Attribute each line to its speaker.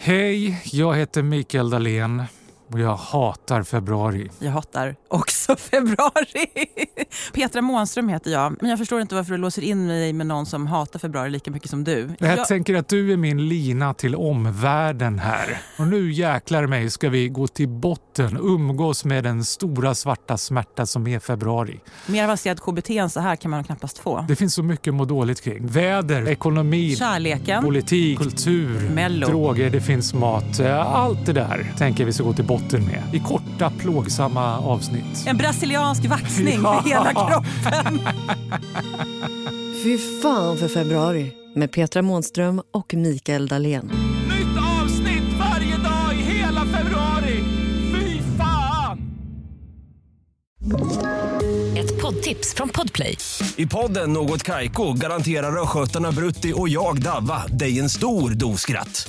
Speaker 1: Hej, jag heter Mikael Dahlén och jag hatar februari.
Speaker 2: Jag hatar också februari. Petra Månström heter jag, men jag förstår inte varför du låser in mig med någon som hatar februari lika mycket som du.
Speaker 1: Jag,
Speaker 2: Jag-
Speaker 1: tänker att du är min lina till omvärlden här. Och nu jäklar mig ska vi gå till botten, umgås med den stora svarta smärta som är februari.
Speaker 2: Mer avancerad KBT än så här kan man knappast få.
Speaker 1: Det finns så mycket att må dåligt kring. Väder, ekonomi,
Speaker 2: Kärleken.
Speaker 1: politik, kultur,
Speaker 2: Mello.
Speaker 1: droger, det finns mat. Eh, Allt det där tänker vi ska gå till botten med i korta plågsamma avsnitt.
Speaker 2: En brasiliansk vaxning för hela kroppen.
Speaker 3: Fy fan för februari med Petra Månström och Mikael Dahlén.
Speaker 4: Nytt avsnitt varje dag i hela februari! Fy fan!
Speaker 5: Ett poddtips från Podplay.
Speaker 6: I podden Något Kaiko garanterar östgötarna Brutti och jag, Davva, dig en stor dos skratt.